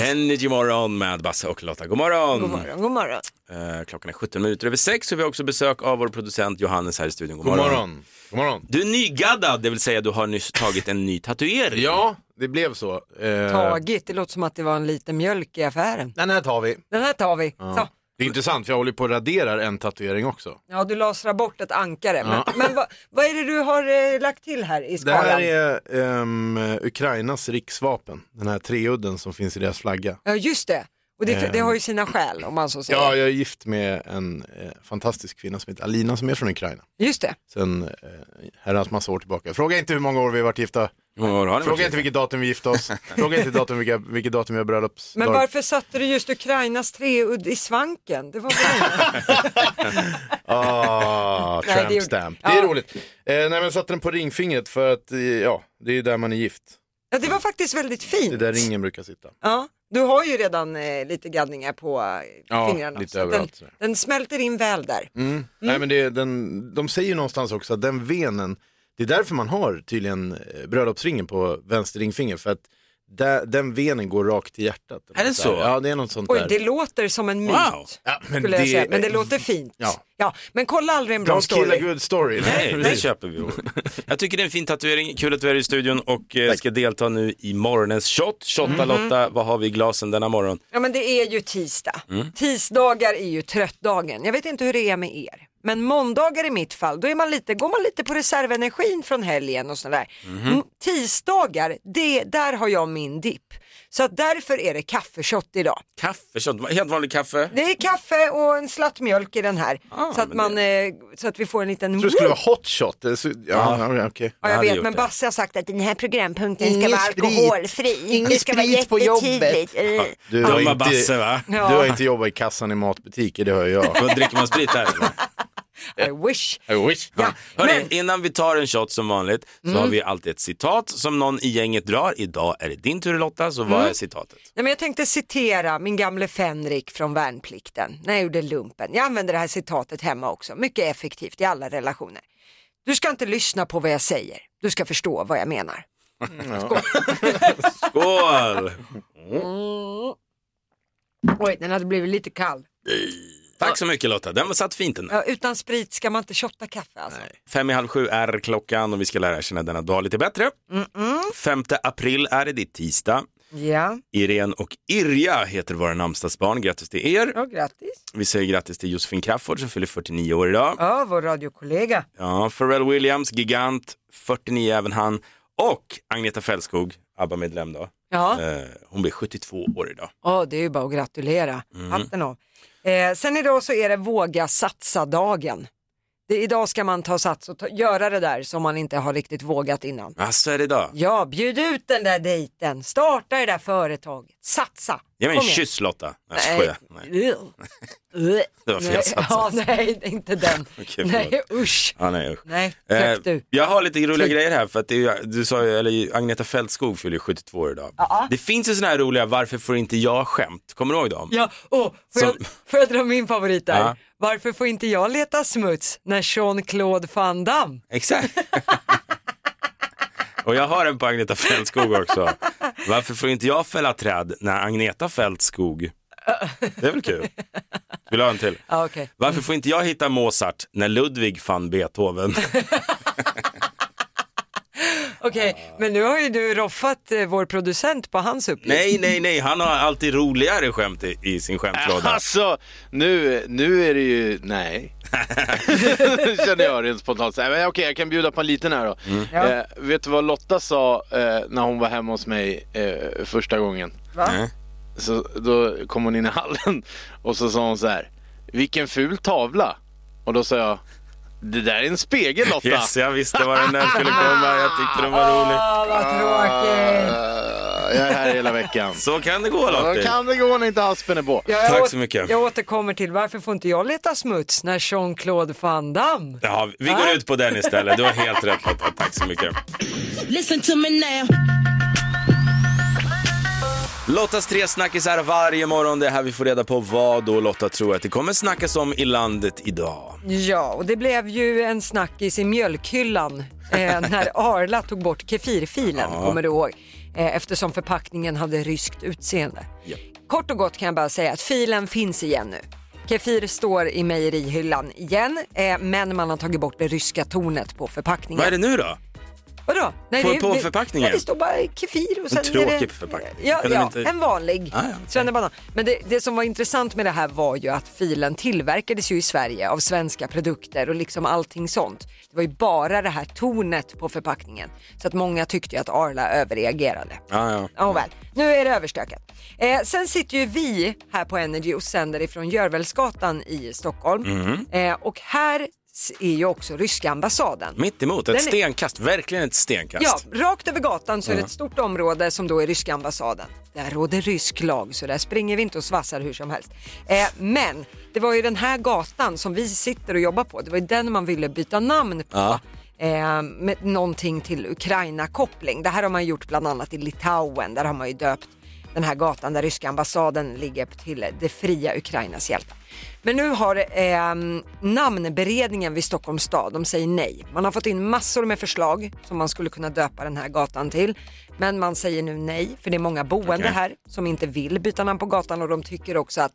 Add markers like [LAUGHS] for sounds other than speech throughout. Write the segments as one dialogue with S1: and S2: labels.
S1: Energy morgon med Basse och Lotta. God morgon.
S2: God
S3: Mm.
S2: morgon, god morgon.
S1: Eh, klockan är 17 minuter över 6 och vi har också besök av vår producent Johannes här i studion. God
S3: God
S1: morgon.
S3: morgon. God morgon.
S1: Du är nygaddad, det vill säga du har nyss tagit en ny tatuering.
S3: Ja, det blev så. Eh,
S2: Tagit, det låter som att det var en liten mjölk i affären.
S3: Den här tar vi.
S2: Den här tar vi. Så.
S3: Det är intressant för jag håller på att radera en tatuering också.
S2: Ja, du lasrar bort ett ankare. Men, men vad, vad är det du har eh, lagt till här i
S3: Det här
S2: skalan?
S3: är ehm, Ukrainas riksvapen, den här treudden som finns i deras flagga.
S2: Ja, just det. Och det, det har ju sina skäl om man så säger.
S3: Eh. Ja, jag är gift med en eh, fantastisk kvinna som heter Alina som är från Ukraina.
S2: Just det.
S3: Sen eh, herrans massa år tillbaka. Fråga inte hur många år vi har varit gifta.
S1: Hur många år har ni
S3: Fråga
S1: varit
S3: inte vilket datum vi gifte oss. Fråga inte datum, vilka, vilket datum jag bröllopsdag.
S2: Men varför satte du just Ukrainas treudd i svanken? Det var
S3: [LAUGHS]
S2: väl
S3: Ah,
S2: [LAUGHS] Nej, det
S3: tramp
S2: gjorde-
S3: stamp. Det
S2: Ja.
S3: är roligt. Eh, nej men satte den på ringfingret för att, eh, ja, det är ju där man är gift.
S2: ja, det var faktiskt väldigt
S3: Det är
S2: fint.
S3: där ringen brukar sitta.
S2: Ja, du har ju redan eh, lite gaddningar på eh,
S3: Ja,
S2: fingrarna.
S3: lite
S2: så att
S3: överallt,
S2: den,
S3: sådär. Mm,
S2: den smälter in väl där. Mm.
S3: Nej men det är den, de säger ju någonstans också att den venen, det är därför man har tydligen eh, bröllopsringen på vänster ringfinger för att där, den venen går rakt till hjärtat.
S1: Är det så?
S3: Ja det är något sånt
S2: Oj,
S3: där.
S2: det låter som en myt.
S1: Wow.
S3: ja, men,
S2: skulle jag säga. Men det låter fint. Ja.
S3: Ja.
S2: Men kolla aldrig en bra
S3: Don't kill a
S2: story.
S3: good story. [LAUGHS]
S1: Nej, det
S3: Precis.
S1: köper vi. Jag tycker det är en fin tatuering. Kul att du är i studion och eh, ska delta nu i morgonens shot. Shotta
S2: Mhm.
S1: Lotta, vad har vi i glasen denna morgon?
S2: Ja men det är ju tisdag. Tisdagar är ju tröttdagen. Jag vet inte hur det är med er. Men måndagar i mitt fall, då är man lite, går man lite på reservenergin från helgen och sådär. Mm. Tisdagar, det, där har jag min dipp. Så att därför är det kaffeshot idag.
S1: Kaffe, shot. helt vanlig kaffe.
S2: [LAUGHS] Det är kaffe och en slatt mjölk i den här.
S1: Ah,
S2: så, att
S1: men
S2: man, eh, så att vi får en liten...
S3: Jag tror det skulle vara hot shot. Det är så- Ja, ja. okej.
S2: Mm. Ja,
S1: Jag
S2: jag
S1: hade
S2: vet,
S1: gjort
S2: men
S1: det.
S2: Basse har sagt att den här programpunkten ska
S4: Ingen
S2: vara
S4: sprit.
S2: alkoholfri.
S4: Ingen
S2: det ska vara
S4: sprit på
S2: jättetydligt. Mm.
S3: Du har,
S1: Dumma
S3: inte,
S1: Basse va?
S2: Ja.
S3: du har inte jobbat i kassan i matbutiker, det
S2: [LAUGHS]
S3: hör jag.
S1: Då dricker man sprit där.
S2: Eh, I wish.
S3: I wish.
S2: Ja,
S1: Hörrni,
S2: men,
S1: innan vi tar en shot som vanligt så har vi alltid ett citat som någon i gänget drar. Idag är det din tur Lotta, så vad är citatet?
S2: nej, men jag tänkte citera min gamle Fänrik från värnplikten när jag gjorde lumpen. Jag använder det här citatet hemma också, mycket effektivt i alla relationer. Du ska inte lyssna på vad jag säger, du ska förstå vad jag menar.
S1: Skål!
S2: Oj, den hade blivit lite kall.
S1: Tack så mycket Lotta, den var satt fint den där.
S2: Ja, utan sprit ska man inte shotta kaffe alltså.
S1: Fem i halv sju är klockan och vi ska lära känna denna dag lite bättre. Femte april är det, det är tisdag.
S2: Ja,
S1: Irene och Irja heter våra namnsdagsbarn, grattis till er.
S2: ja grattis.
S1: Vi säger grattis till Josefin Crafoord som fyller 49 år idag.
S2: Ja, vår radiokollega.
S1: Ja, Pharrell Williams, gigant, 49 även han. Och Agneta Fältskog, ABBA-medlem då.
S2: Ja.
S1: Eh, hon blir 72 år idag.
S2: Ja, det är ju bara att gratulera.
S1: Mm.
S2: Hatten av. Eh, sen idag så är det våga satsa-dagen. Det, idag ska man ta sats och ta, göra det där som man inte har riktigt vågat innan.
S1: Alltså är det idag?
S2: Ja, bjud ut den där dejten, starta det där företaget, satsa.
S1: Ge mig en
S2: Kom igen.
S1: kyss Lotta. Nej, jag
S2: Nej.
S1: skojar. Nej.
S2: Nej.
S1: Det var fel
S2: Nej.
S1: satsa.
S2: Ja, nej, inte den.
S1: [LAUGHS] Okej,
S2: nej,
S1: förlåt.
S2: usch.
S1: Ja, nej, usch.
S2: Nej,
S1: Eh,
S2: knäpp du.
S1: jag har lite roliga
S2: Klipp.
S1: grejer här för att det är, ju- du sa ju, eller ju, Agneta Fältskog fyller ju 72 år idag. Det finns ju sådana här roliga varför får inte jag skämt, kommer du ihåg dem?
S2: Ja, åh, får, jag,
S1: Som-
S2: får jag dra min favorit där?
S1: Ja.
S2: Varför får inte jag leta smuts när Jean-Claude Van Damme
S1: Exakt. [LAUGHS] Och jag har en på Agneta Fältskog också. Varför får inte jag fälla träd när Agneta Fältskog? Det är väl kul? Vill du ha en till?
S2: Ja, okej.
S1: Varför får inte jag hitta Mozart när Ludwig fann Beethoven?
S2: Okej, men nu har ju du roffat eh, vår producent på hans uppgift.
S1: nej, nej, nej, han har alltid roligare skämt i, i sin
S2: Äh,
S1: skämtlåda.
S5: Alltså, nu, nu är det ju, nej. Nu känner jag rent spontant. Så här, men Okej, jag kan bjuda på en liten här då.
S2: Ja.
S5: Eh, vet du vad Lotta sa eh, när hon var hemma hos mig eh, första gången?
S2: Va?
S5: Så, då kom hon in i hallen [LAUGHS] och så sa hon så här, vilken ful tavla. Och då sa jag, det där är en spegel Lotta.
S1: [LAUGHS] Yes, jag visste var den där skulle komma. Jag tyckte den var rolig.
S2: Ah, vad tråkigt.
S5: Eh, jag är här hela veckan.
S1: Så kan det
S5: Då
S1: gå Lottie.
S5: kan det gå när inte aspen är på.
S2: Ja, jag
S1: Tack
S2: åt-
S1: så mycket.
S2: Jag återkommer till varför får inte jag leta smuts när Jean-Claude Van Damme?
S1: [LAUGHS] Ja, vi går ut på den istället. Du har helt rätt Lotta. Tack så mycket.
S4: Listen to me now.
S1: Lottas tre snackisar varje morgon. Det är här vi får reda på vad då Lotta tror att det kommer snackas om i landet idag.
S2: Ja, och det blev ju
S1: [LAUGHS]
S2: en snackis i mjölkhyllan eh, när Arla tog bort kefirfilen, kommer du ihåg? eh, eftersom förpackningen hade ryskt utseende.
S1: Japp.
S2: Kort och gott kan jag bara säga att filen finns igen nu. Kefir står i mejerihyllan igen, eh, men man har tagit bort det ryska tornet på förpackningen.
S1: Vad är det nu då?
S2: Vadå? Nej,
S1: På-
S2: det är-
S1: på
S2: det-
S1: förpackningen?
S2: Ja, det står bara kefir och sen är
S1: tråkig
S2: det,
S1: förpackning.
S2: Ja,
S1: Kan de
S2: ja
S1: inte-
S2: en vanlig
S1: Ah, ja, okej.
S2: svennebanan. Men det, det som var intressant med det här var ju att filen tillverkades ju i Sverige av svenska produkter och liksom allting sånt. Det var ju bara det här tornet på förpackningen så att många tyckte ju att Arla överreagerade.
S1: Ja, ja.
S2: Ja, väl. Nu är det överstökat. Eh, sen sitter ju vi här på Energy och sänder ifrån Görvelsgatan i Stockholm.
S1: Mm.
S2: Eh, och här s- är ju också ryska ambassaden.
S1: Mitt emot,
S2: Den
S1: ett
S2: är-
S1: stenkast. Verkligen ett stenkast.
S2: Ja, rakt över gatan så är det ett stort område som då är ryska ambassaden. Där råder rysk lag så där springer vi inte och svassar hur som helst. Eh, men det var ju den här gatan som vi sitter och jobbar på, det var ju den man ville byta namn på.
S1: Ja.
S2: Eh, med någonting till Ukraina-koppling. Det här har man gjort bland annat i Litauen, där har man ju döpt den här gatan där ryska ambassaden ligger till det fria Ukrainas hjältar. Men nu har eh, namnberedningen vid Stockholms stad, de säger nej. Man har fått in massor med förslag som man skulle kunna döpa den här gatan till. Men man säger nu nej, för det är många boende
S1: Okej.
S2: här som inte vill byta namn på gatan och de tycker också att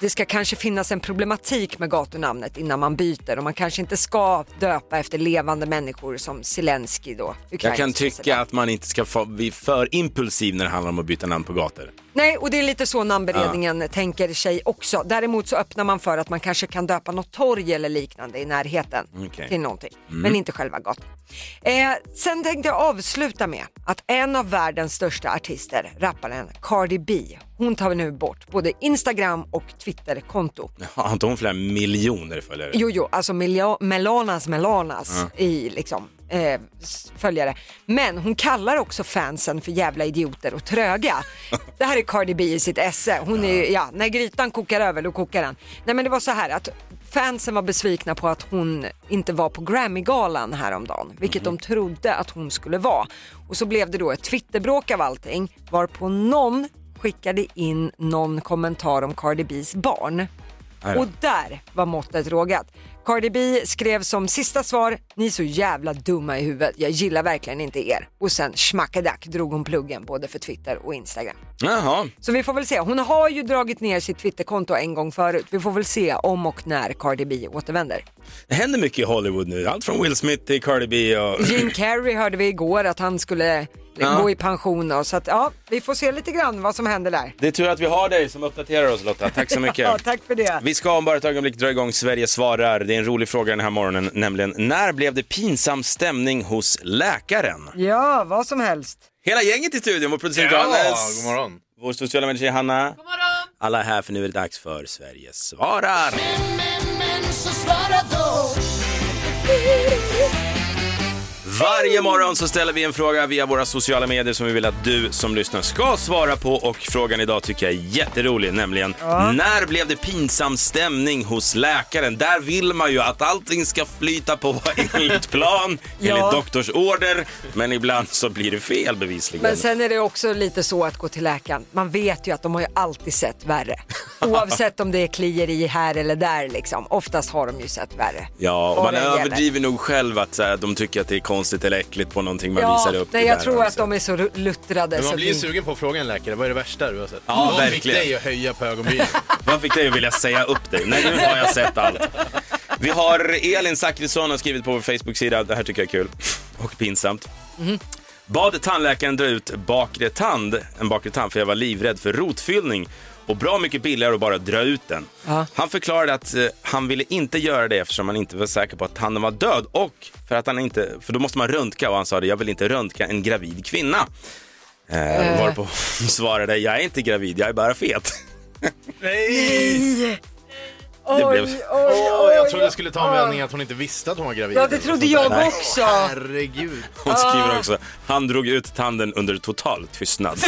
S2: det ska kanske finnas en problematik med gatunamnet innan man byter och man kanske inte ska döpa efter levande människor som Zelensky då.
S1: Jag
S2: Ukrainas
S1: kan
S2: president.
S1: tycka att man inte ska få, bli för impulsiv när det handlar om att byta namn på gator.
S2: Nej, och det är lite så namnberedningen tänker sig också. Däremot så öppnar man för att man kanske kan döpa något torg eller liknande i närheten
S1: Okej.
S2: till någonting, men inte själva gatan. Eh, sen tänkte jag avsluta med att en av världens största artister, rapparen Cardi B, hon tar nu bort både Instagram och Twitterkonto.
S1: Har inte hon flera miljoner följare?
S2: Jo, jo, alltså Milja- Melanas Melanas i liksom eh, s- följare. Men hon kallar också fansen för jävla idioter och tröga. Det här är Cardi B i sitt esse. Hon är ju, ja, när grytan kokar över då kokar den. Nej men det var så här att fansen var besvikna på att hon inte var på Grammygalan häromdagen, vilket de trodde att hon skulle vara. Och så blev det då ett twitterbråk av allting, varpå någon skickade in någon kommentar om Cardi B's barn.
S1: Aj då.
S2: Och där var måttet rågat. Cardi B skrev som sista svar, ni är så jävla dumma i huvudet, jag gillar verkligen inte er. Och sen schmackadack drog hon pluggen både för Twitter och Instagram.
S1: Jaha,
S2: Så vi får väl se, hon har ju dragit ner sitt Twitterkonto en gång förut. Vi får väl se om och när Cardi
S1: [LAUGHS]
S2: B återvänder.
S1: det händer mycket i Hollywood nu. Allt från Will Smith till Cardi B och...
S2: Jim Carrey hörde vi igår att han skulle eh,
S1: Ja.
S2: gå i pension och så att ja, vi får se lite grann vad som händer där.
S1: [LAUGHS] Det är tur att vi har dig som uppdaterar oss Lotta. Tack så mycket.
S2: [LAUGHS] Ja, tack för det.
S1: Vi ska om bara ett ögonblick dra igång Sverige svarar. Det är en rolig fråga den här morgonen, nämligen när blev det pinsam stämning hos läkaren?
S2: Ja, vad som helst.
S1: Hela gänget i studion, vår producent
S3: Ja,
S1: Johannes,
S3: god morgon.
S1: vår sociala medietjej Hanna. Alla är här för nu är det dags för Sverige svarar. Varje morgon så ställer vi en fråga via våra sociala medier som vi vill att du som lyssnar ska svara på och frågan idag tycker jag är jätterolig, nämligen när blev det pinsam stämning hos läkaren? Där vill man ju att allting ska flyta på [LAUGHS] enligt plan,
S2: [LAUGHS] Ja.
S1: enligt doktorsorder, men ibland så blir det fel bevisligen.
S2: Men sen är det också lite så att gå till läkaren. Man vet ju att de har ju alltid sett värre.
S1: [LAUGHS]
S2: Oavsett om det är klieri här eller där liksom. Oftast har de ju sett värre.
S1: Ja, och
S2: Vad
S1: man
S2: det gäller.
S1: överdriver nog själv att så här, de tycker att det är konstigt eller äckligt på någonting man
S2: ja,
S1: visar upp.
S2: Nej,
S1: Det
S2: jag
S1: där
S2: tror
S1: har
S2: att de är så ru- luttrade.
S3: Men
S2: så
S3: man blir
S2: det-
S3: ju sugen på att fråga en läkare, vad är det värsta du har sett?
S1: Ja,
S3: Vad fick
S1: verkligen.
S3: dig att höja på ögonbrynen?
S1: sett. Vad fick dig att vilja säga upp dig? Nej, nu har jag sett allt. Vi har Elin Zachrisson har skrivit på vår Facebook-sida, det här tycker jag är kul och pinsamt. Bad tandläkaren dra ut bakre tand, en bakre tand för jag var livrädd för rotfyllning och bra mycket billigare att bara dra ut den.
S2: Ja.
S1: Han förklarade att eh, han ville inte göra det eftersom han inte var säker på att tanden var död och för att han inte, för då måste man röntga och han sa det, jag vill inte röntga en gravid kvinna. Eh, varpå [LAUGHS] hon svarade, jag är inte gravid, jag är bara fet.
S2: Oj,
S1: blev-
S2: oj,
S3: Åh,
S2: oj,
S3: jag trodde det skulle ta med
S2: oj.
S3: anledning att hon inte visste att hon var gravid.
S2: Ja, det
S3: eller
S2: trodde
S3: sånt
S2: jag
S3: där.
S1: [LAUGHS]
S2: också.
S3: Herregud.
S1: Hon skriver också, han drog ut tanden under total tystnad.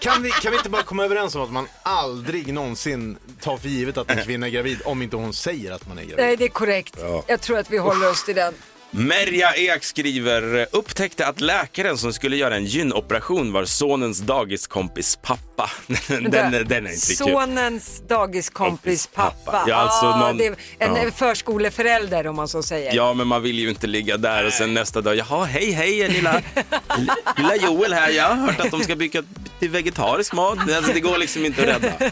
S3: Kan vi, kan vi inte bara komma överens om att man aldrig någonsin tar för givet att en kvinna är gravid om inte hon säger att man är gravid?
S2: Nej, det är korrekt. Jag tror att vi håller oss till den.
S1: Merja Ek skriver, upptäckte att läkaren som skulle göra en gynoperation var sonens dagiskompis pappa. [LAUGHS] Den, den är inte riktigt kul.
S2: Sonens dagiskompis
S1: Kompis pappa.
S2: pappa.
S1: Ja, alltså
S2: ah,
S1: någon-
S2: det är en
S1: ja.
S2: förskoleförälder om man så säger.
S1: Ja, men man vill ju inte ligga där och sen nästa dag, jaha, hej, hej, lilla, lilla Joel här, jag har hört att de ska bygga till vegetarisk mat. Alltså, det går liksom inte att rädda.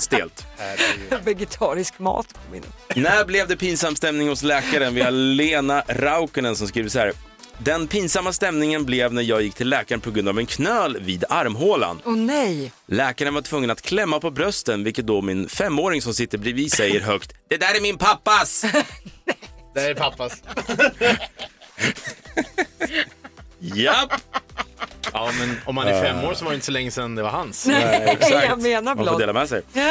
S1: Stelt.
S2: [LAUGHS] Vegetarisk mat. kom in.
S1: När blev det pinsam stämning hos läkaren? Vi har Lena Raukonen som skriver så här. Den pinsamma stämningen blev när jag gick till läkaren på grund av en knöl vid armhålan.
S2: Åh nej.
S1: Läkaren var tvungen att klämma på brösten, vilket då min femåring som sitter bredvid säger högt. Det där är min pappas!
S3: Det här är pappas.
S1: Japp!
S3: Ja, men om man är fem år så var det inte så länge sedan det var hans.
S1: Exakt.
S2: jag menar
S1: Man får
S2: blott.
S1: dela med sig. Eh,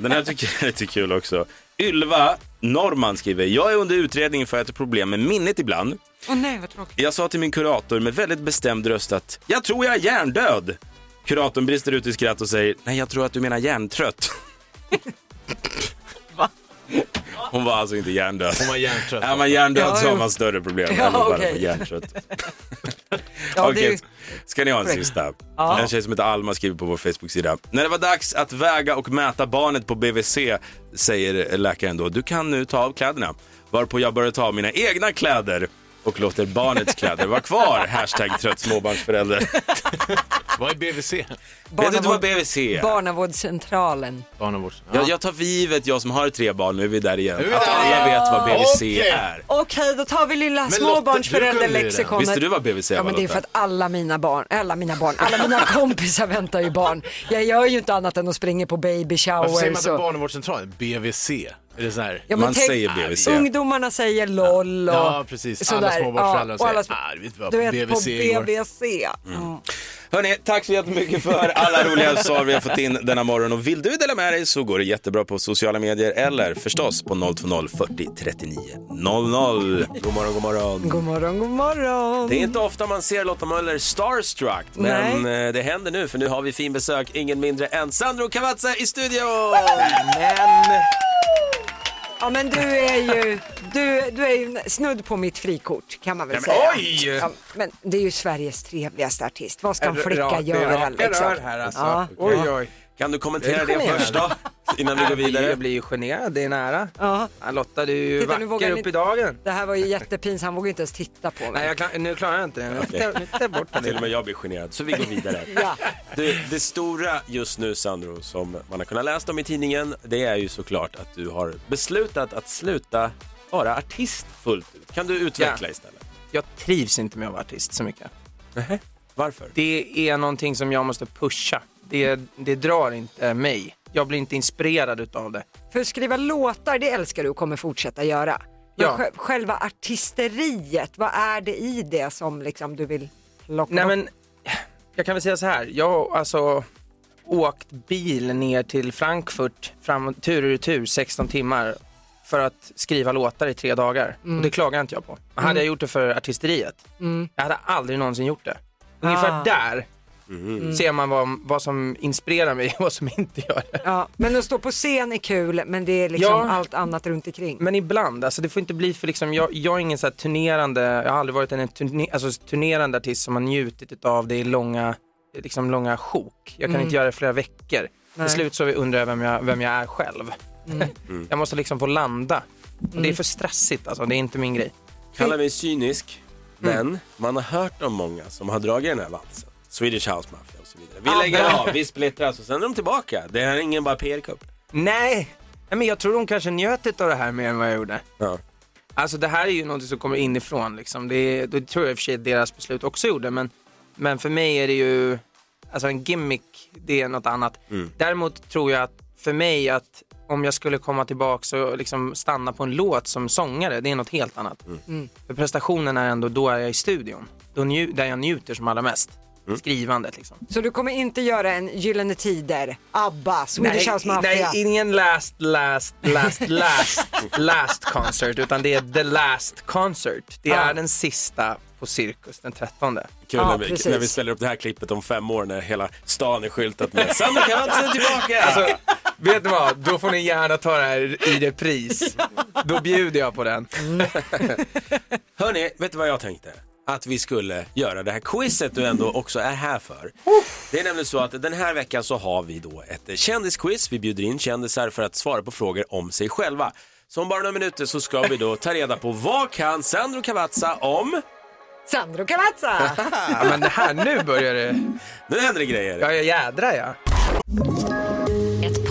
S1: Den här tycker jag är lite kul också. Ylva Norman skriver, jag är under utredning för att jag har problem med minnet ibland.
S2: Åh nej vad tråkigt.
S1: Jag sa till min kurator med väldigt bestämd röst att jag tror jag är hjärndöd. Kuratorn brister ut i skratt och säger, nej jag tror att du menar hjärntrött. Hon var alltså inte hjärndöd.
S3: Hon var hjärntrött.
S1: Är man hjärndöd
S2: Ja,
S1: så har
S2: jo.
S1: man större problem
S2: Ja,
S1: än att bara
S2: okej.
S1: vara hjärntrött.
S2: Ja, det är
S1: Okej,
S2: ju-
S1: ska ni ha en sista?
S2: Ja.
S1: En tjej som heter Alma skriver på vår Facebook-sida. När det var dags att väga och mäta barnet på BVC säger läkaren då, du kan nu ta av kläderna. Varpå jag börjar ta av mina egna kläder och låter barnets kläder vara
S2: [LAUGHS]
S1: kvar. Hashtag trött småbarnsförälder.
S3: Vad är BVC?
S1: Vet du inte vad
S2: Barnavård-
S1: BVC är?
S2: Barnavårdscentralen.
S3: Barnavårds...
S1: Jag, jag tar för givet, jag som har tre barn, nu är vi där igen,
S3: Nu är vi
S1: att
S3: där
S1: alla
S3: igen.
S1: vet vad BVC
S3: Okej.
S1: är.
S2: Okej, då tar vi lilla
S3: Lotta,
S2: småbarnsförälderlexikonet.
S1: Visste du vad BVC
S2: Ja,
S1: var,
S2: men det är för
S1: Lotta?
S2: att alla mina barn, alla mina barn, alla mina kompisar väntar ju barn. Jag gör ju inte annat än att springa på baby
S3: Varför säger man
S2: showers.
S3: inte
S2: och-
S3: barnavårdscentralen? BVC? Är det så här?
S2: Ja, men
S1: Man säger BVC.
S2: Ungdomarna säger LOL och
S3: Ja, precis. Alla småbarnsföräldrar
S2: och
S3: säger, "Ah, du vet vad,
S2: du vet, på
S3: BVC igår."
S2: BVC. Mm.
S1: Hörni, tack så jättemycket för alla roliga svar vi har fått in denna morgon. Och vill du dela med dig så går det jättebra på sociala medier eller förstås på 020 40 39 00. God morgon, god morgon.
S2: God morgon, god morgon.
S6: Det är inte ofta man ser Lotta Möller starstruck, men eh, det händer nu för nu har vi fin besök, ingen mindre än Sandro Cavazza i studion! Men...
S2: Ja, men du är ju, du, du är ju snudd på mitt frikort kan man väl säga.
S6: oj!
S2: Ja, men det är ju Sveriges trevligaste artist. Vad ska en flicka
S6: Ra-
S2: göra? liksom?
S7: raka rör här alltså.
S2: Ja.
S7: Oj, oj.
S6: Kan du kommentera det
S2: generad.
S6: först då, innan vi går
S7: Jag blir,
S6: vidare?
S7: jag blir ju generad, det är nära.
S2: Ja.
S7: Ja, Lotta, du är ju
S2: Titta, nu vågar
S7: vacker upp
S2: ni-
S7: i dagen.
S2: Det här var ju jättepinsamt, han vågade inte ens titta på mig.
S7: Nej, jag klar, nu klarar jag inte det. Nu tar- Nu tar jag bort det.
S6: Till och med jag blir generad, så vi går vidare.
S2: Ja.
S6: Du, det stora just nu, Sandro, som man har kunnat läsa om i tidningen, det är ju såklart att du har beslutat att sluta vara artist fullt ut. Kan du utveckla
S7: Ja.
S6: istället?
S7: Jag trivs inte med att vara artist så mycket.
S6: Varför?
S7: Det är någonting som jag måste pusha. Det, det drar inte mig. Jag blir inte inspirerad utav det.
S2: För att skriva låtar, det älskar du och kommer fortsätta göra. Men
S7: Ja.
S2: sj- själva artisteriet, vad är det i det som liksom du vill plocka
S7: Nej
S2: bort?
S7: men, jag kan väl säga så här. Jag har alltså åkt bil ner till Frankfurt, fram, och- tur och retur, 16 timmar för att skriva låtar i tre dagar. Och det klagar inte jag på. Men Hade jag gjort det för artisteriet, jag hade aldrig någonsin gjort det. Ungefär
S2: Ah.
S7: där ser man vad, vad som inspirerar mig och vad som [LAUGHS] inte gör det.
S2: Ja, men att stå på scen är kul, men det är liksom
S7: Ja.
S2: allt annat runt omkring.
S7: Men ibland, alltså det får inte bli för liksom, jag, jag är ingen så här turnerande, jag har aldrig varit en turne, alltså turnerande artist som har njutit av det i långa, liksom långa sjok. Jag kan inte göra det i flera veckor.
S2: Nej.
S7: Till slut så undrar jag vem jag, vem jag är själv. [LAUGHS] jag måste liksom få landa. Och det är för stressigt alltså, det är inte min grej.
S6: Kalla mig cynisk,
S2: Mm.
S6: men man har hört om många som har dragit den här valsen. Swedish House Mafia och så vidare. Vi lägger av, vi splittras och sen är de tillbaka. Det här är ingen bara PR-kupp.
S7: Nej, Nej, men jag tror de kanske njöt av det här mer än vad jag gjorde.
S6: Ja.
S7: Alltså det här är ju något som kommer inifrån liksom. Det, är- det tror jag i och för sig deras beslut också gjorde. Men, men för mig är det ju, alltså en gimmick, det är något annat. Däremot tror jag att för mig att om jag skulle komma tillbaka och liksom stanna på en låt som sångare, det är något helt annat. För prestationen är ändå, då är jag i studion. Då nju, där jag njuter som allra mest. Skrivandet liksom.
S2: Så du kommer inte göra en Gyllene Tider, ABBA, Swedish House Mafia?
S7: nej, ingen last, last, last, last, last concert, utan det är the last concert. Det är den sista på Cirkus den 13.
S6: Kul
S2: Ja,
S6: när, vi,
S2: precis.
S6: när vi ställer upp det här klippet om fem år när hela stan är skyltat med Sandra Cavazza är tillbaka!
S7: Alltså, Vet ni vad? Då får ni gärna ta det här i repris. Då bjuder jag på den.
S1: Hörni, vet du vad jag tänkte? Att vi skulle göra det här quizet du ändå också är här för. Det är nämligen så att den här veckan så har vi då ett eh, kändisquiz. Vi bjuder in kändisar för att svara på frågor om sig själva. Så om bara några minuter så ska vi då ta reda på vad kan Sandro Cavazza om...
S2: Sandro
S7: [LAUGHS]
S2: Cavazza!
S7: Ja, men det här, nu börjar det.
S1: Nu händer det grejer.
S7: Ja, jag jädrar ja.
S8: Ett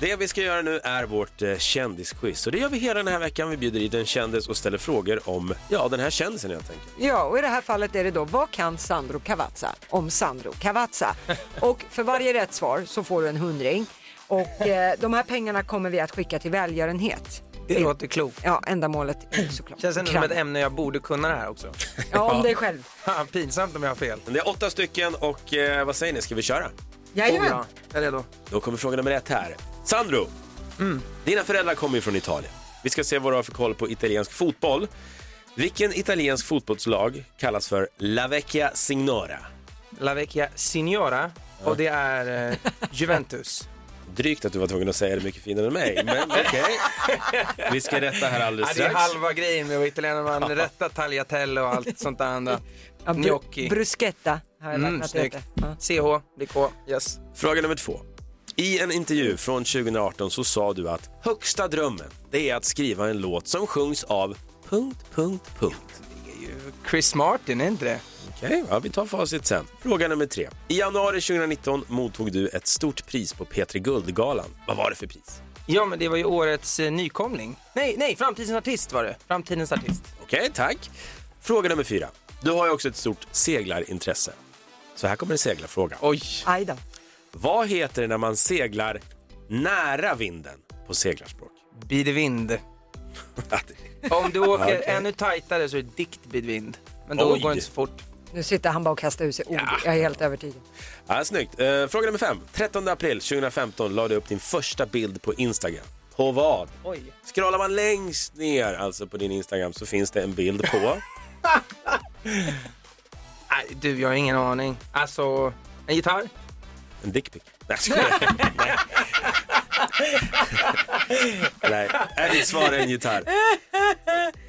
S1: Det vi ska göra nu är vårt eh, kändisquiz. Och det gör vi hela den här veckan. Vi bjuder in en kändis och ställer frågor om ja, den här kändisen helt enkelt.
S2: Ja, och i det här fallet är det då vad kan Sandro Cavazza om Sandro
S7: [LAUGHS]
S2: Cavazza? Och för varje rätt svar så får du en hundring och eh, de här pengarna kommer vi att skicka till välgörenhet.
S7: Det låter klokt.
S2: Ja, ändamålet är såklart.
S7: Känns ändå som
S2: Kram.
S7: ett ämne jag borde kunna det här också.
S2: Ja, om dig själv.
S7: Fan, pinsamt om jag har fel.
S1: Men Det är åtta stycken och eh, vad säger ni, ska vi köra?
S7: Oh,
S2: Jajamän.
S7: ja. Jag är redo.
S1: Då kommer fråga nummer ett här. Sandro, dina föräldrar kommer ju från Italien. Vi ska se vad du har för koll på italiensk fotboll. Vilken italiensk fotbollslag kallas för La Vecchia Signora?
S7: La Vecchia Signora och det är eh, Juventus.
S1: Drygt att du var tvungen att säga det mycket finare än mig, men okej. Vi ska rätta här alldeles
S7: Ja, det är
S1: strax.
S7: halva grejen med att vara italienare. Man rättar tagliatelle och allt sånt där [LAUGHS] andra.
S2: Ja, bru-
S7: Gnocchi.
S2: bruschetta har jag lärt mig
S7: Mm,
S2: att det
S7: snyggt.
S2: heter. Ja.
S7: CH, BK, yes.
S1: Fråga nummer två. I en intervju från 2018 så sa du att högsta drömmen, det är att skriva en låt som sjungs av punkt, punkt, punkt.
S7: Chris Martin, är inte det?
S1: Okej, ja, vi tar facit sen. Fråga nummer tre. I januari 2019 mottog du ett stort pris på P3 Guldgalan. Vad var det för pris?
S7: Ja, men det var ju årets eh, nykomling. Nej, nej, Framtidens artist var det. Framtidens artist.
S1: Okej, tack. Fråga nummer fyra. Du har ju också ett stort seglarintresse. Så här kommer en seglarfråga.
S7: Oj.
S2: Aj då.
S1: Vad heter det när man seglar nära vinden på seglarspråk? [LAUGHS]
S7: Bid vind. Om [LAUGHS] du åker ännu tajtare så är det dikt bid vind. Men då
S1: Oj.
S7: går det inte så fort.
S2: Nu sitter han bara och kastar ur sig ord. Jag är helt övertygad.
S1: Ja, snyggt. Eh, fråga nummer fem. 13 april 2015 la du upp din första bild på Instagram. På vad?
S7: Oj.
S1: Scrollar man längst ner alltså på din Instagram så finns det en bild på.
S7: Nej, du, jag har ingen aning. Alltså, en gitarr?
S1: En dickpic. Nej, jag skojar. Nej. Nej, är ditt svar en gitarr?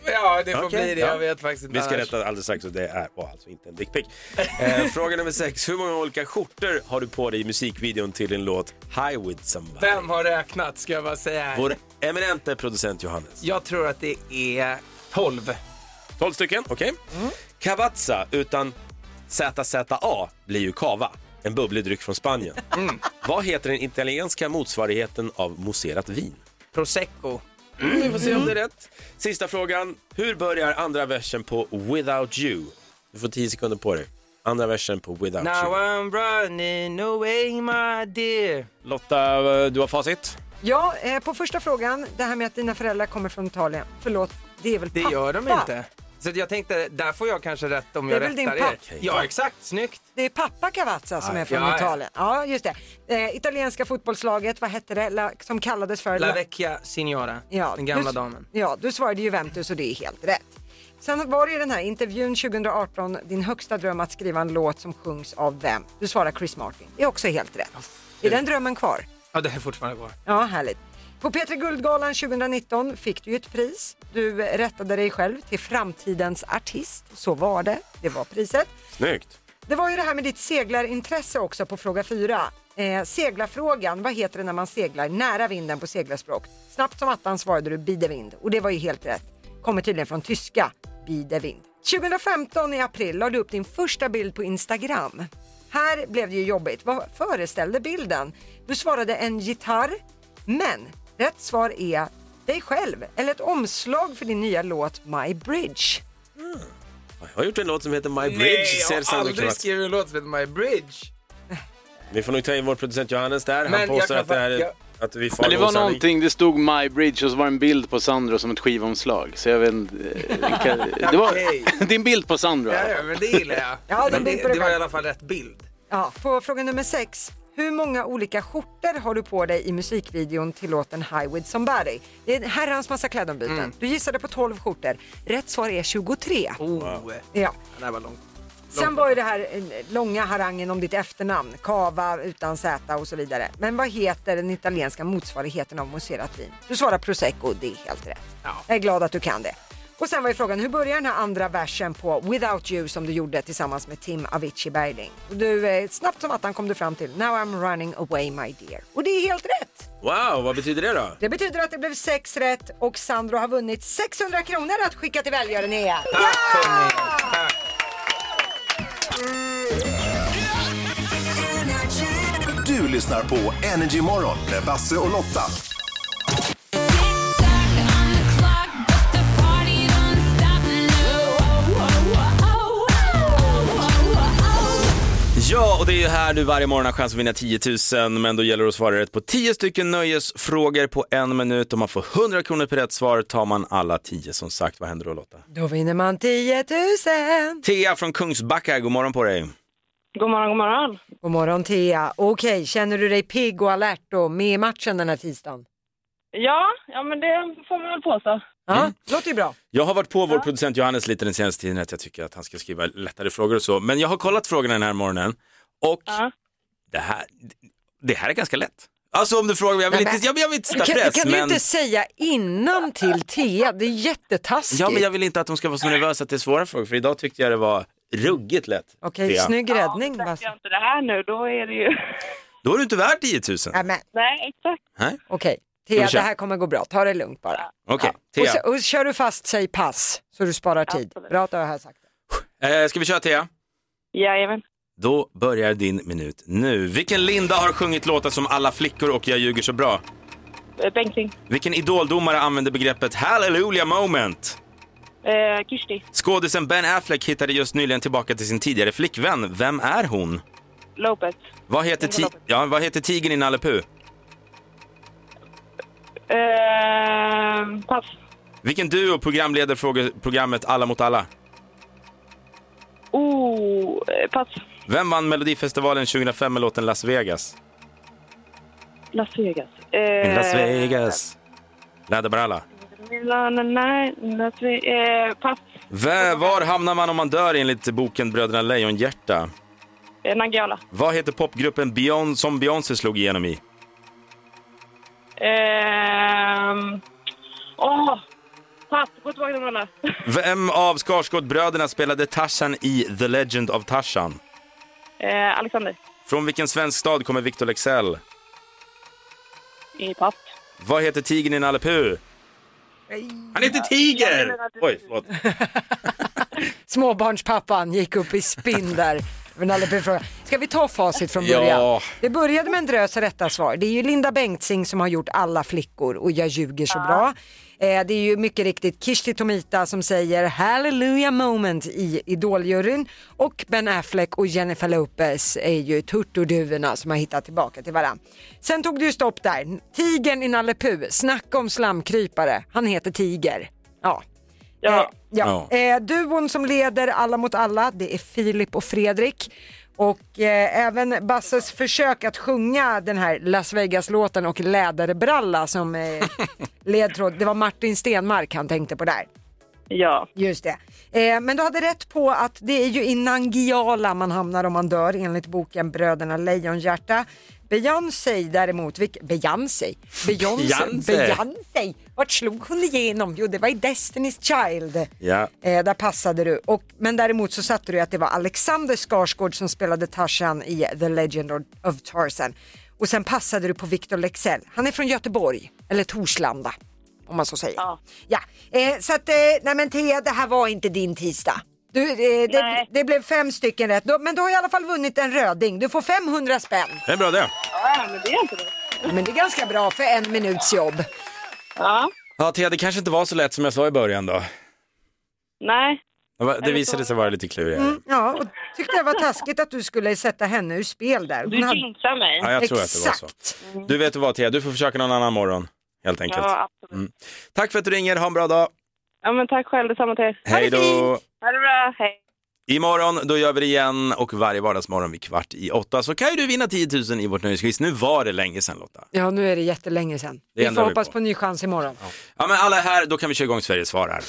S7: Ja, det får
S1: Okej,
S7: bli det.
S1: ja.
S7: Jag vet faktiskt inte
S1: Vi ska
S7: annars.
S1: rätta alldeles strax och det är var alltså inte en dickpic. Eh, fråga nummer sex. Hur många olika skjortor har du på dig i musikvideon till din låt High With Somebody?
S7: Vem har räknat, ska jag bara säga här.
S1: Vår eminente producent Johannes.
S7: Jag tror att det är 12.
S1: 12 stycken, okej. Cavazza utan ZZA blir ju cava, en bubblig dryck från Spanien. Vad heter den italienska motsvarigheten av mousserat vin?
S7: Prosecco.
S1: Vi får se om det är rätt. Sista frågan. Hur börjar andra versen på Without You? Du får 10 sekunder på dig. Andra versen på Without
S7: Now
S1: You.
S7: I'm running away my dear.
S1: Lotta, eh, du har facit.
S2: Ja, eh, på första frågan, det här med att dina föräldrar kommer från Italien. Förlåt, det är väl
S7: Det
S2: pappa?
S7: gör de inte. Så att jag tänkte, där får jag kanske rätt om
S2: Det är
S7: jag
S2: väl din
S7: rättar
S2: pappa?
S7: er. Ja, exakt. Snyggt.
S2: Det är pappa Cavazza som är från
S7: Ah, ja, ja.
S2: Italien. Ja, just det. Eh, italienska fotbollslaget, vad hette det, La, som kallades för?
S7: La Vecchia Signora,
S2: Ja,
S7: den gamla
S2: du,
S7: damen.
S2: Ja, du svarade Juventus och det är helt rätt. Sen var det ju den här intervjun 2018, din högsta dröm att skriva en låt som sjungs av vem? Du svarar Chris Martin. Det är också helt rätt. Är den drömmen kvar?
S7: Ja, det är fortfarande kvar.
S2: Ja, härligt. På P3 Guldgalan 2019 fick du ju ett pris. Du rättade dig själv till framtidens artist. Så var det. Det var priset.
S1: Snyggt.
S2: Det var ju det här med ditt seglarintresse också på fråga fyra. Eh, seglarfrågan, vad heter det när man seglar nära vinden på seglarspråk? Snabbt som attan svarade du bidevind och det var ju helt rätt. Kommer tydligen från tyska, bidevind. 2015 i april la du upp din första bild på Instagram. Här blev det ju jobbigt. Vad föreställde bilden? Du svarade en gitarr, men rätt svar är dig själv eller ett omslag för din nya låt My Bridge.
S1: Jag har gjort en låt som heter My Bridge.
S7: Nej, jag
S1: säger
S7: har
S1: Sandra
S7: aldrig
S1: Cavazza.
S7: skrivit en låt som heter My Bridge.
S6: Vi får nog ta in vår producent Johannes där. Han
S5: Men jag
S6: påstår
S5: kan
S6: att, det här,
S5: fa-
S6: är
S5: jag-
S6: att vi far
S5: Men det
S6: med
S5: var
S6: osanning.
S5: någonting, det stod My Bridge och så var det en bild på Sandro som ett skivomslag. Så jag vet inte. eh, kan-
S7: [LAUGHS]
S5: [LAUGHS] Det var din bild på Sandro.
S7: Ja, ja, men det gillar jag.
S2: Ja, det
S7: Men
S2: blir på
S7: det,
S2: det
S7: det var i
S2: själv.
S7: alla fall rätt bild.
S2: Ja, på fråga nummer sex. Hur många olika skjortor har du på dig i musikvideon till låten High with somebody? Det är en herrans massa klädombyten.
S7: Mm.
S2: Du gissade på 12 skjortor. Rätt svar är 23.
S7: Oh.
S2: Ja.
S7: Det här var långt.
S2: Sen var ju det här eh, långa harangen om ditt efternamn, Kava utan Z och så vidare. Men vad heter den italienska motsvarigheten av mousserat vin? Du svarar prosecco, det är helt rätt. Jag är glad att du kan det. Och sen var ju frågan, hur börjar den här andra versen på Without You som du gjorde tillsammans med Tim Avicii Bergling? Och du, eh, snabbt som attan kom du fram till Now I'm running away my dear. Och det är helt rätt!
S6: Wow, vad betyder det då?
S2: Det betyder att det blev sex rätt och Sandro har vunnit 600 kronor att skicka till väljaren igen.
S9: Du lyssnar på Energy Morgon med Basse och Lotta.
S1: Ja, och det är ju här du varje morgon har chans att vinna 10 000, men då gäller det att svara rätt på 10 stycken nöjesfrågor på en minut. Om man får 100 kronor per rätt svar tar man alla 10 som sagt. Vad händer då Lotta?
S2: Då vinner man 10 000!
S1: Thea från Kungsbacka, god morgon på dig.
S2: God morgon, god morgon. God morgon Thea. Okej, känner du dig pigg och alert och med i matchen den här tisdagen?
S10: Ja, ja men det får man väl påstå.
S2: Ja,
S1: Mm.
S2: låter ju bra.
S1: Jag har varit på vår producent Johannes lite den senaste tiden att jag tycker att han ska skriva lättare frågor och så, men jag har kollat frågorna den här morgonen och det, här, det här är ganska lätt. Alltså om du frågar, jag vill inte, jag, jag vill inte sätta
S2: kan,
S1: press,
S2: kan du
S1: men...
S2: inte säga innan till Thea? Det är jättetaskigt.
S1: Ja, men jag vill inte att de ska vara så nervösa att det är svåra frågor, för idag tyckte jag det var ruggigt lätt.
S2: Okej,
S1: Thea.
S2: snygg räddning. Ja,
S10: Gör inte det här nu, då är det ju... [LAUGHS]
S1: Då är du inte värd 10 000.
S2: Nej, men.
S10: Nej, exakt.
S1: Nej.
S2: Okej,
S1: Ska
S2: Thea,
S1: vi köra?
S2: det här kommer gå bra. Ta det lugnt bara.
S1: Okej,
S2: Och,
S1: Thea.
S2: så, och kör du fast, säg pass, så du sparar tid. Bra att du har här sagt.
S1: Eh, ska vi köra Thea?
S10: Jajamän.
S1: Då börjar din minut nu. Vilken Linda har sjungit låtar som Alla flickor och Jag ljuger så bra?
S10: Eh, Bengtzing.
S1: Vilken idoldomare använde begreppet Hallelujah moment?
S10: Eh, Kirsti.
S1: Skådisen Ben Affleck hittade just nyligen tillbaka till sin tidigare flickvän. Vem är hon?
S10: Lopez.
S1: Vad heter, ti- ja, vad heter tigern i Nalle Puh?
S10: Eh, pass.
S1: Vilken duo programleder fråge- programmet Alla mot alla?
S10: Oh, eh, pass.
S1: Vem vann Melodifestivalen 2005 med låten Las Vegas?
S10: Las Vegas. Eh,
S1: In Las Vegas. Lada Bralla.
S10: Milan, nej. Las Vegas. Eh, pass.
S1: Vä- Var hamnar man om man dör enligt boken Bröderna Lejonhjärta?
S10: Eh, Nangijala.
S1: Vad heter popgruppen Beyon- som Beyoncé slog igenom i?
S10: Eh, åh, pass. Gå tillbaka till Mona.
S1: Vem av Skarsgårdbröderna spelade Tarzan i The Legend of Tarzan?
S10: [LAUGHS] Eh, Alexander.
S1: Från vilken svensk stad kommer Victor Lexell?
S10: I pass.
S1: Vad heter tigern i Nalle Puh? Han heter Tiger! Oj, förlåt.
S2: Småbarnspappan gick upp i spinn där. Men alla blev frågan. Ska vi ta facit från början?
S1: Ja.
S2: Det började med en drös rätta svar. Det är ju Linda Bengtzing som har gjort alla flickor och jag ljuger så bra. Eh, det är ju mycket riktigt Kirsti Tomita som säger Hallelujah moment i Idoljuryn och Ben Affleck och Jennifer Lopez är ju turturduvorna som har hittat tillbaka till varandra. Sen tog det ju stopp där. Tigern i Nalle Puh, snacka om slamkrypare. Han heter Tiger. Ja. Ja. ja. Eh, duon som leder Alla mot alla, det är Filip och Fredrik. Och eh, även Basses försök att sjunga den här Las Vegas-låten och Läderbralla som eh, ledtråd, det var Martin Stenmark han tänkte på där.
S10: Ja.
S2: Just det. Eh, men du hade rätt på att det är ju i Nangijala man hamnar om man dör enligt boken Bröderna Lejonhjärta. Beyoncé däremot, vilk, Beyoncé, Beyoncé,
S1: Beyoncé.
S2: Beyoncé, vart slog hon igenom? Jo, det var i Destiny's Child.
S1: Ja.
S2: Eh, där passade du. Och, men däremot så satte du att det var Alexander Skarsgård som spelade Tarzan i The Legend of- of Tarzan. Och sen passade du på Victor Lexell. Han är från Göteborg, eller Torslanda om man så säger. Ja. Eh, så att, eh, nej men Thea, det här var inte din tisdag. Du, eh, det, det blev fem stycken rätt, Då- men du har i alla fall vunnit en röding. Du får 500 spänn.
S1: Det är bra det.
S10: Ja, men det är inte det.
S2: Men det är ganska bra för en minuts jobb.
S10: Ja.
S1: Ja, Thea, det kanske inte var så lätt som jag sa i början då.
S10: Nej.
S1: Det var- Det visade sig vara lite klurigare.
S2: Mm, ja, och tyckte det var taskigt att du skulle sätta henne ur spel där.
S10: Du jinxar mig.
S1: Ja, jag tror att det var
S2: Exakt.
S1: så. Du vet vad Thea, du får försöka någon annan morgon. Helt enkelt.
S10: Ja,
S1: Mm. Tack för att du ringer, ha en bra dag.
S10: Ja, men tack själv. Detsamma till er.
S1: Hej då!
S10: Ha det bra. Hej.
S1: Imorgon, då gör vi det igen och varje vardagsmorgon vid kvart i åtta så kan ju du vinna 10 000 i vårt nöjesquiz. Nu var det länge sedan Lotta.
S2: Ja, nu är det jättelänge sedan.
S1: Det
S2: Vi
S1: ändrar
S2: får
S1: vi
S2: hoppas
S1: på.
S2: på. en ny chans imorgon.
S1: Ja men alla är här, då kan vi köra igång Sverige svarar.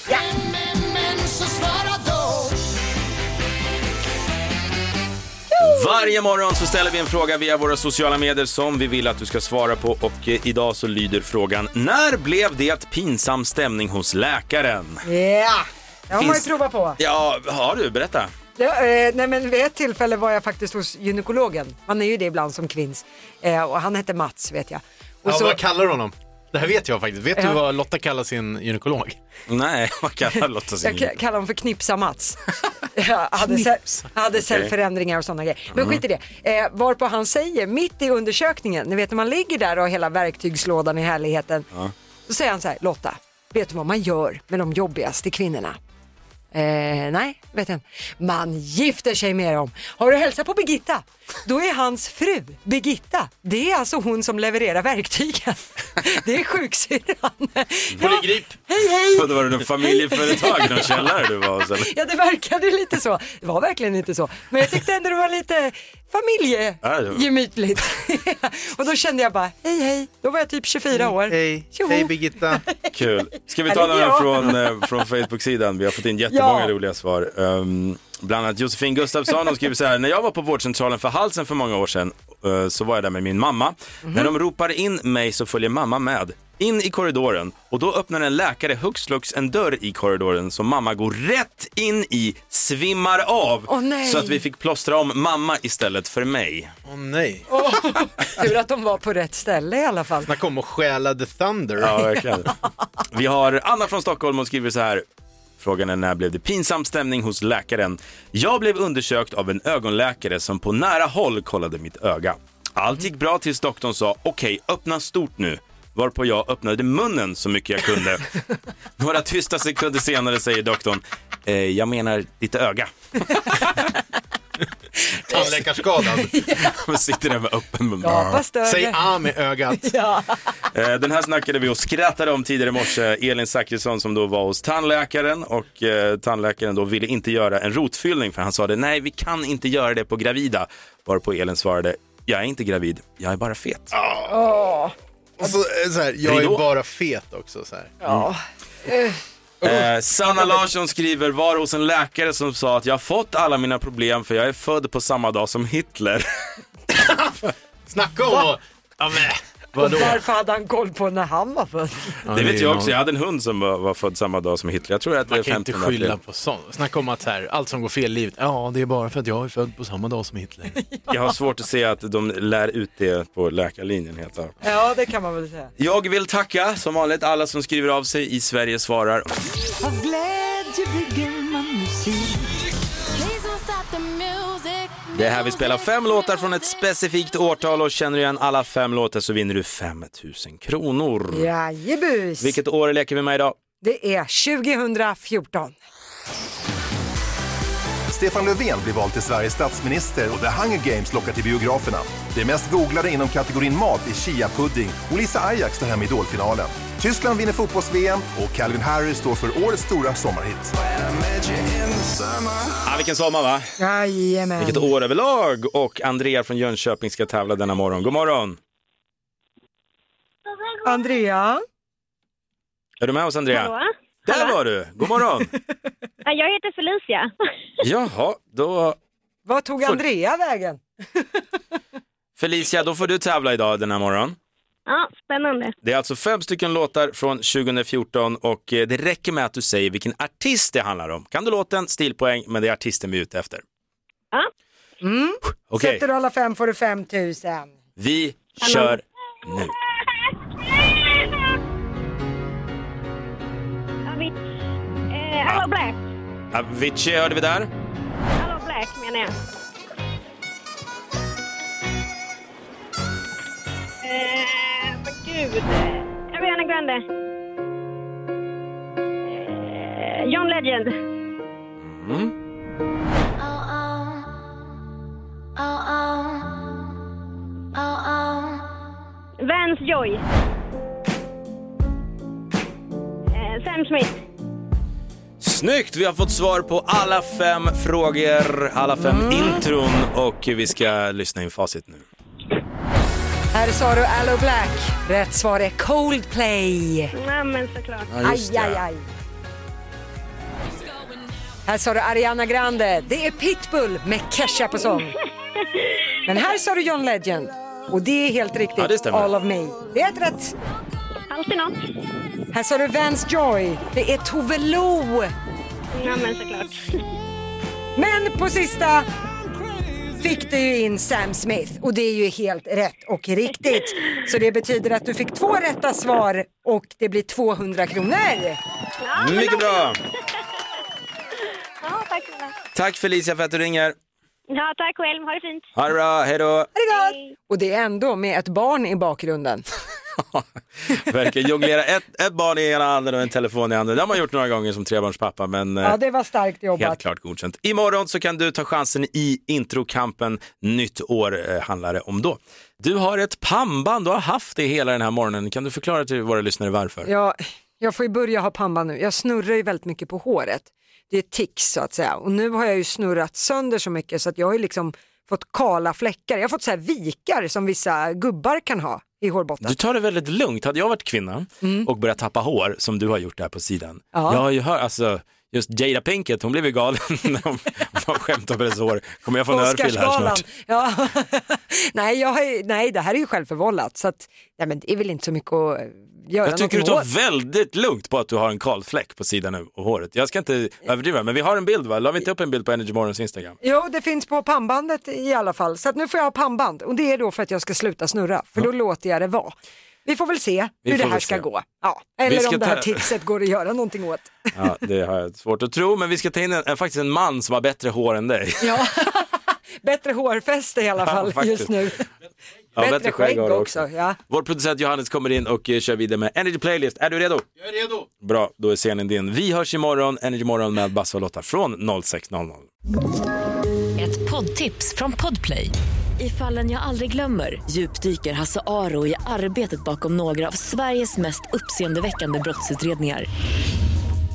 S1: Varje morgon så ställer vi en fråga via våra sociala medier som vi vill att du ska svara på och eh, idag så lyder frågan När blev det pinsam stämning hos läkaren?
S2: Ja, det har man ju
S1: Finns-
S2: provat på.
S1: Ja, har du? Berätta.
S2: Ja, eh, nej men vid ett tillfälle var jag faktiskt hos gynekologen. Man är ju det ibland som kvinns. Eh, och han hette Mats vet jag. Och
S3: Ja,
S2: så-
S3: Vad kallar du honom? Det här vet jag faktiskt. Vet
S2: Ja.
S3: du vad Lotta kallar sin gynekolog?
S1: Nej, [LAUGHS] vad kallar Lotta
S2: Alltså, Jag k- kallar honom för
S1: [LAUGHS]
S2: Knipsa Mats. jag hade, cell, hade
S3: Okej.
S2: cellförändringar och sådana grejer. Men
S1: Mm.
S2: skit i det. Eh, varpå han säger, mitt i undersökningen, ni vet när man ligger där och har hela verktygslådan i härligheten.
S1: Ja.
S2: Då säger han så här, Lotta, vet du vad man gör med de jobbigaste kvinnorna? Eh, nej, vet jag inte. Man gifter sig med dem. Har du hälsat på Birgitta? Då är hans fru Birgitta. Det är alltså hon som levererar verktygen. [LAUGHS] Det är sjuksyrran. Polygrip. Hej, hej.
S1: Vadå, var det något familjeföretag, någon källare du var hos eller?
S2: Ja, det verkade lite så. Det var verkligen inte så. Men jag tyckte ändå det var lite
S1: Ja, det var-
S2: familjegemytligt. och då kände jag bara, hej hej. Då var jag typ 24 år. Hej,
S3: hej Birgitta.
S1: Kul. Ska vi ta
S2: Eller
S1: några
S2: ja.
S1: från, eh, från Facebook-sidan? Vi har fått in jättemånga
S2: Ja.
S1: roliga svar. Um, bland annat Josefin Gustafsson, hon skriver så här. När jag var på vårdcentralen för halsen för många år sedan eh, så var jag där med min mamma.
S2: Mhm.
S1: När de ropar in mig så följer mamma med. In i korridoren och då öppnar en läkare hux flux en dörr i korridoren som mamma går rätt in i, svimmar av.
S2: Åh, nej.
S1: så att vi fick plåstra om mamma istället för mig.
S3: Åh nej.
S2: Tur att de var på rätt ställe i alla fall.
S3: Man kom och stjälade Thunder.
S1: Ja, verkligen. Vi har Anna från Stockholm och skriver så här. Frågan är när blev det pinsam stämning hos läkaren? Jag blev undersökt av en ögonläkare som på nära håll kollade mitt öga. Allt gick bra tills doktorn sa okej, öppna stort nu. Varpå jag öppnade munnen så mycket jag kunde. Några tysta sekunder senare säger doktorn, eh, jag menar ditt öga. [LAUGHS]
S3: Tandläkarskadad.
S5: [LAUGHS]
S1: Man sitter där med öppen mun.
S3: Gapa större. Säg ah med ögat.
S2: ja.
S1: Eh, Den här snackade vi och skrattade om tidigare i morse. Elin Zachrisson som då var hos tandläkaren och eh, tandläkaren då ville inte göra en rotfyllning för han sa det, nej vi kan inte göra det på gravida. Varpå Elin svarade, jag är inte gravid, jag är bara fet.
S3: Och så, eh, så här, jag är
S1: Ridå.
S3: bara fet också. Så här.
S2: Ja. Eh,
S1: Eh, Sanna Larsson skriver, var hos en läkare som sa att jag har fått alla mina problem för jag är född på samma dag som Hitler.
S3: Snacka om att... Ja, men, vadå?
S2: Och varför hade han koll på när han var född?
S1: [LAUGHS] det vet
S3: ju
S1: jag
S3: någon-
S1: också, jag hade en hund som var, var född samma dag som Hitler. Jag tror att det är
S3: Man kan inte
S1: 15 april.
S3: skylla på sånt. Snacka om att så här, allt som går fel i livet. Ja, det är bara för att jag är född på samma dag som Hitler.
S1: Jag har svårt att se att de lär ut det på läkarlinjen helt enkelt.
S2: Ja, det kan man väl säga.
S1: Jag vill tacka som vanligt alla som skriver av sig i Sverige svarar.
S11: Av glädje bygger man musik.
S1: Det är här vi spelar fem låtar från ett specifikt årtal och känner du igen alla fem låtar så vinner du 5 000 kronor.
S2: Jajebus.
S1: Vilket år leker vi med idag?
S2: Det är 2014.
S9: Stefan Löfven blir vald till Sveriges statsminister och The Hunger Games lockar till biograferna. Det mest googlade inom kategorin mat är chia-pudding och Lisa Ajax tar hem Idolfinalen. Tyskland vinner fotbolls-VM och Calvin Harris står för årets stora sommarhit.
S1: Ah, vilken sommar va?
S2: Jajamän.
S1: Vilket år överlag! Och Andrea från Jönköping ska tävla denna morgon. God morgon!
S2: Andrea?
S1: Är du med oss Andrea?
S12: Hallå?
S1: Där var du!
S12: [LAUGHS]
S1: God morgon!
S12: Ja, Jag heter Felicia.
S1: Jaha, då
S2: Vad tog Andrea vägen?
S1: Felicia, då får du tävla idag denna morgon.
S12: Ja, spännande.
S1: Det är alltså fem stycken låtar från 2014 och eh, det räcker med att du säger vilken artist det handlar om. Kan du låten, stilpoäng, men det är artisten vi är ute efter.
S12: Ja.
S2: Mm.
S1: Okej.
S2: Sätter du alla fem får du 5 000.
S1: Vi
S2: Hallå.
S1: kör nu.
S12: Avicii. Eh, Hello Black.
S1: Avicii hörde vi där.
S12: Hello Black menar jag. Eh, men gud. Ariana Grande. Eh, John Legend. Vance Joy. Eh, Sam Smith.
S1: Snyggt! Vi har fått svar på alla fem frågor, alla fem
S2: Mm.
S1: intron och vi ska lyssna in facit nu.
S2: Här sa du Allo Black. Rätt svar är Coldplay.
S12: Nej, men såklart.
S2: Ja, just det. Aj, aj, aj. Här sa du Ariana Grande. Det är Pitbull med Kesha på sång. Men här sa du John Legend. Och det är helt riktigt.
S1: Ja, det stämmer.
S2: All of me. Det är ett rätt.
S12: Alltid något.
S2: Här sa du Vance Joy. Det är Tove Lo.
S12: Nej, men såklart.
S2: Men på sista fick du ju in Sam Smith och det är ju helt rätt och riktigt. Så det betyder att du fick två rätta svar och det blir 200 kronor.
S1: Mycket bra!
S12: Ja, tack snälla.
S1: Tack Felicia för att du ringer.
S12: Ja, tack själv. Ha det fint.
S1: Ha det bra, hej då!
S2: Herregud. Och det är ändå med ett barn i bakgrunden.
S1: Verkar jonglera ett, ett barn i ena handen och en telefon i andra. Det har man gjort några gånger som trebarnspappa men eh,
S2: Ja, det var starkt
S1: Helt
S2: jobbat.
S1: klart godkänt. Imorgon så kan du ta chansen i introkampen. Nytt år eh, handlar det om då. Du har ett pannband, du har haft det hela den här morgonen. Kan du förklara till våra lyssnare varför?
S2: Jag, jag får ju börja ha pannband nu. Jag snurrar ju väldigt mycket på håret. Det är tics så att säga. Och nu har jag ju snurrat sönder så mycket så att jag har ju liksom fått kala fläckar. Jag har fått så här vikar som vissa gubbar kan ha i hårbotten.
S1: Du tar det väldigt lugnt. Hade jag varit kvinna och börjat tappa hår som du har gjort där på sidan.
S2: Mm. Ja.
S1: Jag har ju hört, alltså, just Jada Pinkett, hon blev ju galen [LAUGHS] när hon, när hon skämtade om hennes hår. Kommer jag få en örfil här
S2: Oscarsgalan.
S1: snart?
S2: Ja. [LAUGHS] nej, jag har, ju- nej, det här är ju självförvållat så att, nej, men det är väl inte så mycket att eh, göra
S1: Jag tycker du
S2: någonting
S1: tar
S2: åt.
S1: väldigt lugnt på att du har en kal fläck på sidan av håret. Jag ska inte överdriva, men vi har en bild va? La vi inte upp en bild på Energy Morgons Instagram?
S2: Jo, det finns på pannbandet i alla fall. Så att nu får jag ha pannband och det är då för att jag ska sluta snurra, för då låter jag det vara. Vi får väl se
S1: Vi
S2: hur det
S1: får
S2: här
S1: väl
S2: ska
S1: se.
S2: gå. Ja.
S1: Vi
S2: Eller
S1: ska
S2: om det här
S1: ta-
S2: tipset går att göra någonting åt.
S1: Ja, det har jag svårt att tro, men vi ska ta in en, en, faktiskt en man som har bättre hår än dig.
S2: Ja. [LAUGHS] Bättre hårfäste i alla fall
S1: faktiskt.
S2: just nu.
S1: Ja,
S2: bättre,
S1: bättre skägg
S2: skägg
S1: har du
S2: också.
S1: också.
S2: Ja.
S1: Vår producent Johannes kommer in och eh, kör vidare med Energy Playlist. Är du redo?
S5: Jag är redo.
S1: Bra, då är scenen din. Vi hörs imorgon, Energy Morgon med Basse och Lotta från 06.00.
S8: Ett poddtips från Podplay. I fallen jag aldrig glömmer djupdyker Hasse Aro i arbetet bakom några av Sveriges mest uppseendeväckande brottsutredningar.